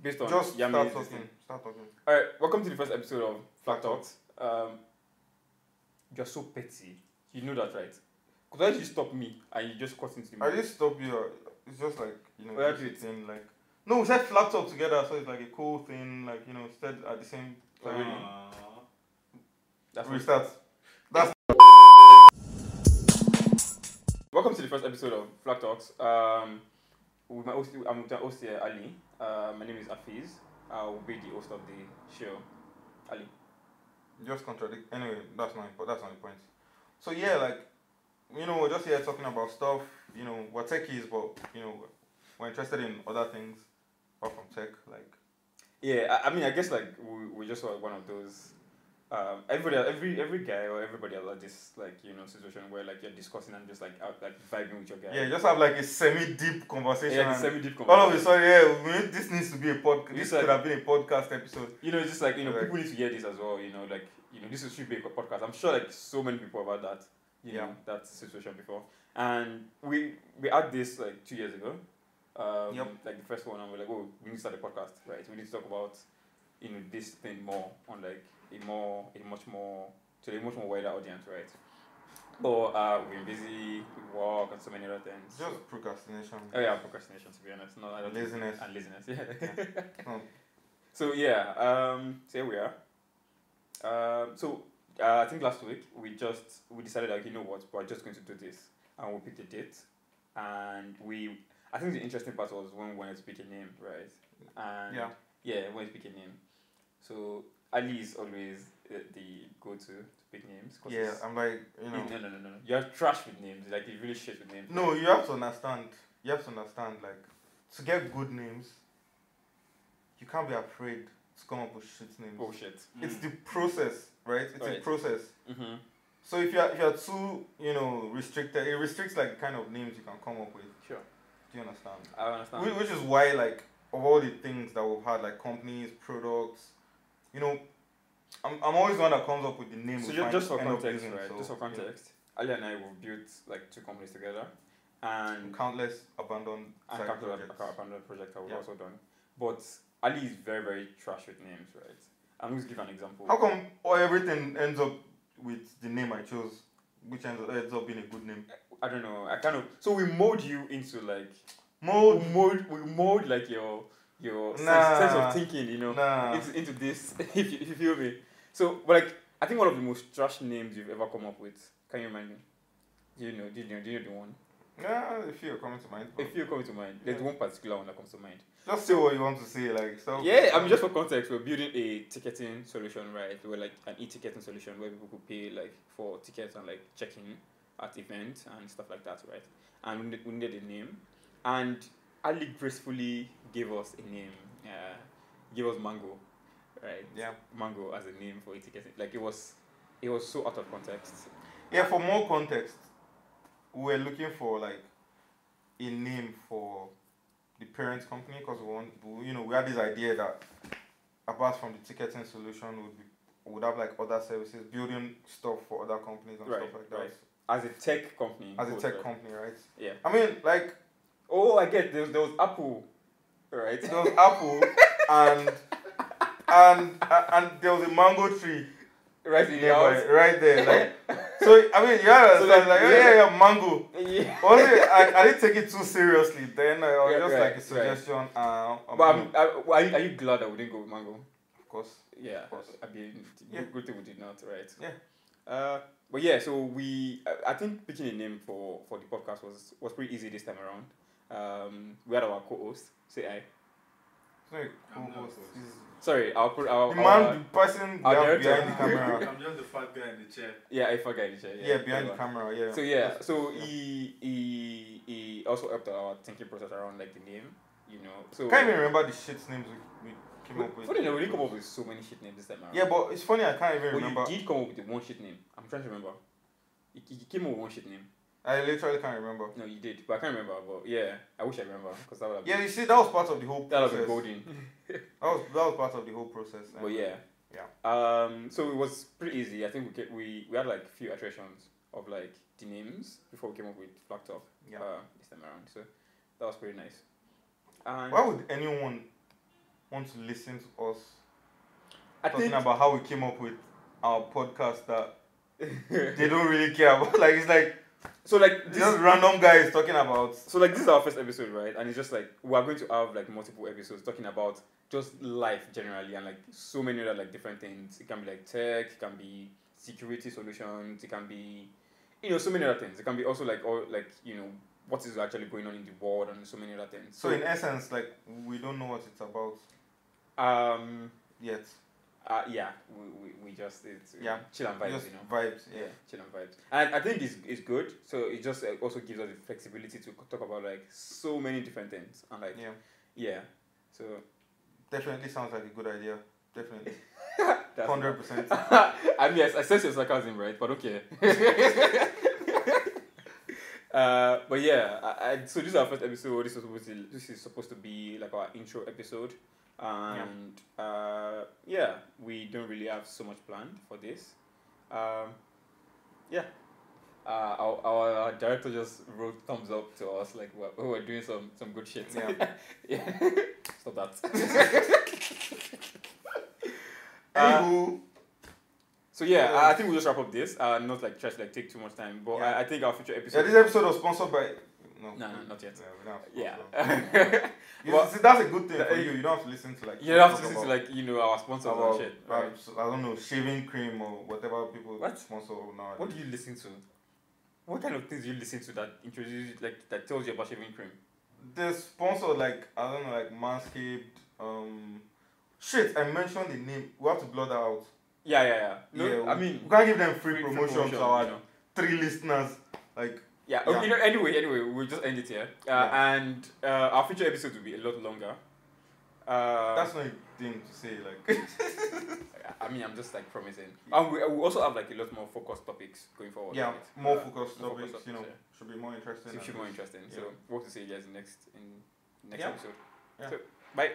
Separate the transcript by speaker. Speaker 1: based on
Speaker 2: Just
Speaker 1: Yami's
Speaker 2: start
Speaker 1: this
Speaker 2: talking.
Speaker 1: thing.
Speaker 2: Start talking.
Speaker 1: All right, welcome to the first episode of Flat Talks. Um, you're so petty. You know that, right? Because why you stop me and you just cut into me?
Speaker 2: I just stop you. uh, It's just like you know,
Speaker 1: Well,
Speaker 2: it's a
Speaker 1: that's
Speaker 2: thing like. No, we said flat top together, so it's like a cool thing. Like you know, said at the same. Like, when you-
Speaker 1: That's
Speaker 2: we
Speaker 1: what-
Speaker 2: start.
Speaker 1: Welcome to the first episode of Flat Talks. Um, with my host, I'm with my host here, Ali. Uh, my name is Afiz. I will be the host of the show. Ali.
Speaker 2: Just contradict. Anyway, that's not impo- that's not the point. So yeah, like you know, we're just here talking about stuff. You know, we're techies, but you know, we're interested in other things apart from tech. Like
Speaker 1: Yeah, I, I mean, I guess like we, we just saw one of those. Um, everybody, every every guy or everybody has this like you know situation where like you're discussing and just like out, like vibing with your guy.
Speaker 2: yeah, just have like a semi-deep conversation.
Speaker 1: yeah,
Speaker 2: and
Speaker 1: semi deep conversation.
Speaker 2: all of a sudden, yeah, we- this needs to be a podcast. This
Speaker 1: It's like-
Speaker 2: could have been a podcast episode.
Speaker 1: you know, it's just like you know,
Speaker 2: Correct.
Speaker 1: people need to hear this as well. You know, like you know, this should be a podcast. I'm sure like so many people about that. You know,
Speaker 2: Yeah.
Speaker 1: that situation before, and we we had this like two years ago. Um,
Speaker 2: Yep.
Speaker 1: Like the first one, and we're like, oh, we need to start a podcast, right? We need to talk about you know this thing more on like a more a much more to a much more wider audience, right? But uh, we're busy, we work, and so many other things. so-
Speaker 2: Just procrastination.
Speaker 1: oh yeah, procrastination. To be honest, no, I don't think-
Speaker 2: Laziness.
Speaker 1: and laziness. Yeah.
Speaker 2: Hmm.
Speaker 1: So yeah, um, so here we are. Um, so uh, I think last week we just we decided like you know what we're just going to do this and we picked a date and we I think the interesting part was when we wanted to pick a name right and
Speaker 2: Yeah.
Speaker 1: yeah when we pick a name so Ali is always uh, the go to to pick names 'cause
Speaker 2: Yeah,
Speaker 1: it's-
Speaker 2: I'm like you know.
Speaker 1: no no no no no you're trash with names like you really shit with names
Speaker 2: No, you have to understand. You have to understand, like, to get good names, you can't be afraid to come up with shit names.
Speaker 1: oh shit
Speaker 2: It's the process, right? It's a
Speaker 1: Right.
Speaker 2: process.
Speaker 1: mm-hmm.
Speaker 2: So if you're if you're too, you know, restricted, it restricts like the kind of names you can come up with.
Speaker 1: sure
Speaker 2: Do you understand?
Speaker 1: I understand
Speaker 2: Whi- Which is why, like, of all the things that we've had, like companies, products, you know, I'm, I'm always the one that comes up with the name.
Speaker 1: So
Speaker 2: we
Speaker 1: just,
Speaker 2: find-
Speaker 1: just for
Speaker 2: end up
Speaker 1: context,
Speaker 2: using,
Speaker 1: right?
Speaker 2: so,
Speaker 1: just for
Speaker 2: you know,
Speaker 1: context, Ali and I will build like two companies together, and
Speaker 2: countless abandoned
Speaker 1: and
Speaker 2: side
Speaker 1: capital
Speaker 2: projects.
Speaker 1: abandoned project I was
Speaker 2: Yeah.
Speaker 1: also done. But Ali is very very trash with names, right? I'm going to give an example.
Speaker 2: How come all everything ends up with the name I chose, which ends up, ends up being a good name?
Speaker 1: I don't know. I kind of so we mold you into like we Oh,
Speaker 2: Mold.
Speaker 1: mold we mold like your your sense-
Speaker 2: Nah.
Speaker 1: sense of thinking, you know.
Speaker 2: Nah.
Speaker 1: into, into this if you, if you feel me. So, but like I think one of the most trash names you've ever come up with. Can you remind me? Do you know? Do you know? Do you know the one?
Speaker 2: Yeah, if you're coming to mind. but
Speaker 1: If you come to mind, there's one particular one that comes to mind.
Speaker 2: Just say what you want to say, like so.
Speaker 1: Yeah, I mean, just for context, we're building a ticketing solution, right? We're like an e-ticketing solution where people could pay like for tickets and like checking at events and stuff like that, right? And we need- we needed a name, and Ali gracefully gave us a name. Uh, gave us Mango, right?
Speaker 2: Yeah.
Speaker 1: Mango as a name for e-ticketing. Like it was, it was so out of context.
Speaker 2: Yeah. For more context, we're looking for like a name for the parent company because we want, we- you know, we had this idea that apart from the ticketing solution, would be would have like other services, building stuff for other companies and
Speaker 1: Right,
Speaker 2: stuff like that.
Speaker 1: right. As a tech company.
Speaker 2: As a
Speaker 1: quote,
Speaker 2: tech
Speaker 1: right?
Speaker 2: company, right?
Speaker 1: Yeah.
Speaker 2: I mean, like
Speaker 1: Oh, I get. There was, there was Apple, right?
Speaker 2: there was apple and and and there was a mango tree
Speaker 1: right in the
Speaker 2: nearby,
Speaker 1: house.
Speaker 2: right there. Like, so I mean, yeah,
Speaker 1: So,
Speaker 2: so
Speaker 1: like,
Speaker 2: like, oh, yeah,
Speaker 1: yeah.
Speaker 2: yeah, mango.
Speaker 1: Yeah.
Speaker 2: Only I, I didn't take it too seriously. Then I was
Speaker 1: Yeah,
Speaker 2: just
Speaker 1: right,
Speaker 2: like a
Speaker 1: right.
Speaker 2: suggestion. Uh,
Speaker 1: But
Speaker 2: um,
Speaker 1: I'm, I, well, are, you, are you glad that we didn't go with mango?
Speaker 2: of course,
Speaker 1: Yeah,
Speaker 2: Of course.
Speaker 1: I mean, good-
Speaker 2: Yeah.
Speaker 1: good thing we did not, right?
Speaker 2: Yeah.
Speaker 1: Uh, but yeah, so we, I, I think picking a name for, for the podcast was, was pretty easy this time around. Um, we had our co-host, say I.
Speaker 2: it's not a
Speaker 3: I'm not
Speaker 2: co-host.
Speaker 3: opposed.
Speaker 2: It's-
Speaker 1: Sorry, our co- our,
Speaker 2: The
Speaker 1: our-
Speaker 2: man, the person we
Speaker 1: our
Speaker 2: have behind
Speaker 1: director.
Speaker 2: the camera.
Speaker 3: I'm just the fat guy in the chair.
Speaker 1: yeah, I forgot the chair.
Speaker 2: yeah,
Speaker 1: Yeah,
Speaker 2: behind the
Speaker 1: everyone.
Speaker 2: camera. Yeah.
Speaker 1: So yeah, so
Speaker 2: yeah.
Speaker 1: he he he also helped our thinking process around like the name, you know. So
Speaker 2: Can't even remember the shit's names we, we came up with.
Speaker 1: Funny enough, we didn't come up with so many shit names this time around.
Speaker 2: Yeah, but it's funny. I can't even
Speaker 1: Well,
Speaker 2: remember.
Speaker 1: you did come up with the one shit name. I'm trying to remember. You, you came up with one shit name.
Speaker 2: I literally can't remember.
Speaker 1: No, you did, but I can't remember. But yeah, I wish I remember because that would have
Speaker 2: Yeah,
Speaker 1: been,
Speaker 2: you see, that was part of the whole
Speaker 1: that
Speaker 2: process.
Speaker 1: would have been golden.
Speaker 2: That was that was part of the whole process.
Speaker 1: but yeah,
Speaker 2: Yeah.
Speaker 1: Um, so it was pretty easy. I think we ca- we we had like few iterations of like the names before we came up with Black Top
Speaker 2: Yeah.
Speaker 1: uh, this time around. So that was pretty nice. And
Speaker 2: Why would anyone want to listen to us
Speaker 1: I
Speaker 2: talking
Speaker 1: think
Speaker 2: about how we came up with our podcast that they don't really care about. Like it's like
Speaker 1: so like
Speaker 2: this
Speaker 1: this
Speaker 2: random guy is talking about
Speaker 1: so like this is our first episode, right? And it's just like we are going to have like multiple episodes talking about just life generally and like so many other like different things. It can be like tech, it can be security solutions, it can be you know, so many other things. It can be also like all like, you know, what is actually going on in the world and so many other things.
Speaker 2: so in essence like we don't know what it's about
Speaker 1: um
Speaker 2: yet.
Speaker 1: uh, yeah, we, we, we just it's uh,
Speaker 2: Yeah.
Speaker 1: chill and vibes,
Speaker 2: Just
Speaker 1: you know.
Speaker 2: vibes, yeah.
Speaker 1: yeah, chill and vibes. And I think it's, it's good. So it just uh, also gives us the flexibility to talk about like so many different things and like yeah.
Speaker 2: Yeah.
Speaker 1: So
Speaker 2: Definitely sounds like a good idea. Definitely.
Speaker 1: that's
Speaker 2: Hundred percent.
Speaker 1: I mean, yes, I sense your sarcasm, right? But okay. uh, but yeah, I, I, so this is our first episode. This is supposed to, this is supposed to be like our intro episode, and uh, yeah, we don't really have so much planned for this. Um, yeah. Uh, our, our director just wrote thumbs up to us like we're, we're doing some, some good shit.
Speaker 2: Yeah.
Speaker 1: yeah. Stop that. Uh,
Speaker 2: Anywho,
Speaker 1: So yeah,
Speaker 2: Yeah.
Speaker 1: I I think we'll just wrap up this. Uh, not like try to like take too much time, but
Speaker 2: Yeah.
Speaker 1: I, I think our future
Speaker 2: yeah,
Speaker 1: episode.
Speaker 2: this episode Oh, was sponsored by no
Speaker 1: No, no, not yet.
Speaker 2: Yeah, we don't have
Speaker 1: Yeah.
Speaker 2: sponsor. You
Speaker 1: Well-
Speaker 2: see, that's a good thing
Speaker 1: That-
Speaker 2: for you. You don't have to listen to like.
Speaker 1: you don't have to
Speaker 2: people
Speaker 1: listen to
Speaker 2: talk
Speaker 1: like you know our sponsors
Speaker 2: about-
Speaker 1: and shit.
Speaker 2: about,
Speaker 1: right?
Speaker 2: perhaps, I don't know shaving cream or whatever people
Speaker 1: What?
Speaker 2: sponsor now.
Speaker 1: What do you listen to? What kind of things do you listen to that introduces like that tells you about shaving cream?
Speaker 2: They sponsor like I don't know like Manscaped. Um, shit, I mentioned the name. We have to blur that out.
Speaker 1: Yeah, yeah, yeah. No,
Speaker 2: yeah,
Speaker 1: I
Speaker 2: we-
Speaker 1: mean
Speaker 2: we can't give them free,
Speaker 1: free- free
Speaker 2: promotion, to our
Speaker 1: you know.
Speaker 2: three listeners. Like
Speaker 1: Yeah,
Speaker 2: Yeah.
Speaker 1: Okay, you know, anyway, anyway, we'll just end it here. Uh,
Speaker 2: Yeah.
Speaker 1: And uh, our future episodes will be a lot longer. Uh,
Speaker 2: that's not a thing to say. Like
Speaker 1: I mean, I'm just like promising. And we, we also have like a lot more focused topics going forward.
Speaker 2: yeah,
Speaker 1: right?
Speaker 2: more
Speaker 1: Uh,
Speaker 2: focused
Speaker 1: more focused
Speaker 2: topics. You know,
Speaker 1: topics,
Speaker 2: should be more interesting.
Speaker 1: Seems
Speaker 2: and-
Speaker 1: more interesting.
Speaker 2: Yeah.
Speaker 1: So, what to see you guys in next in next
Speaker 2: Yeah.
Speaker 1: episode.
Speaker 2: Yeah.
Speaker 1: So, bye.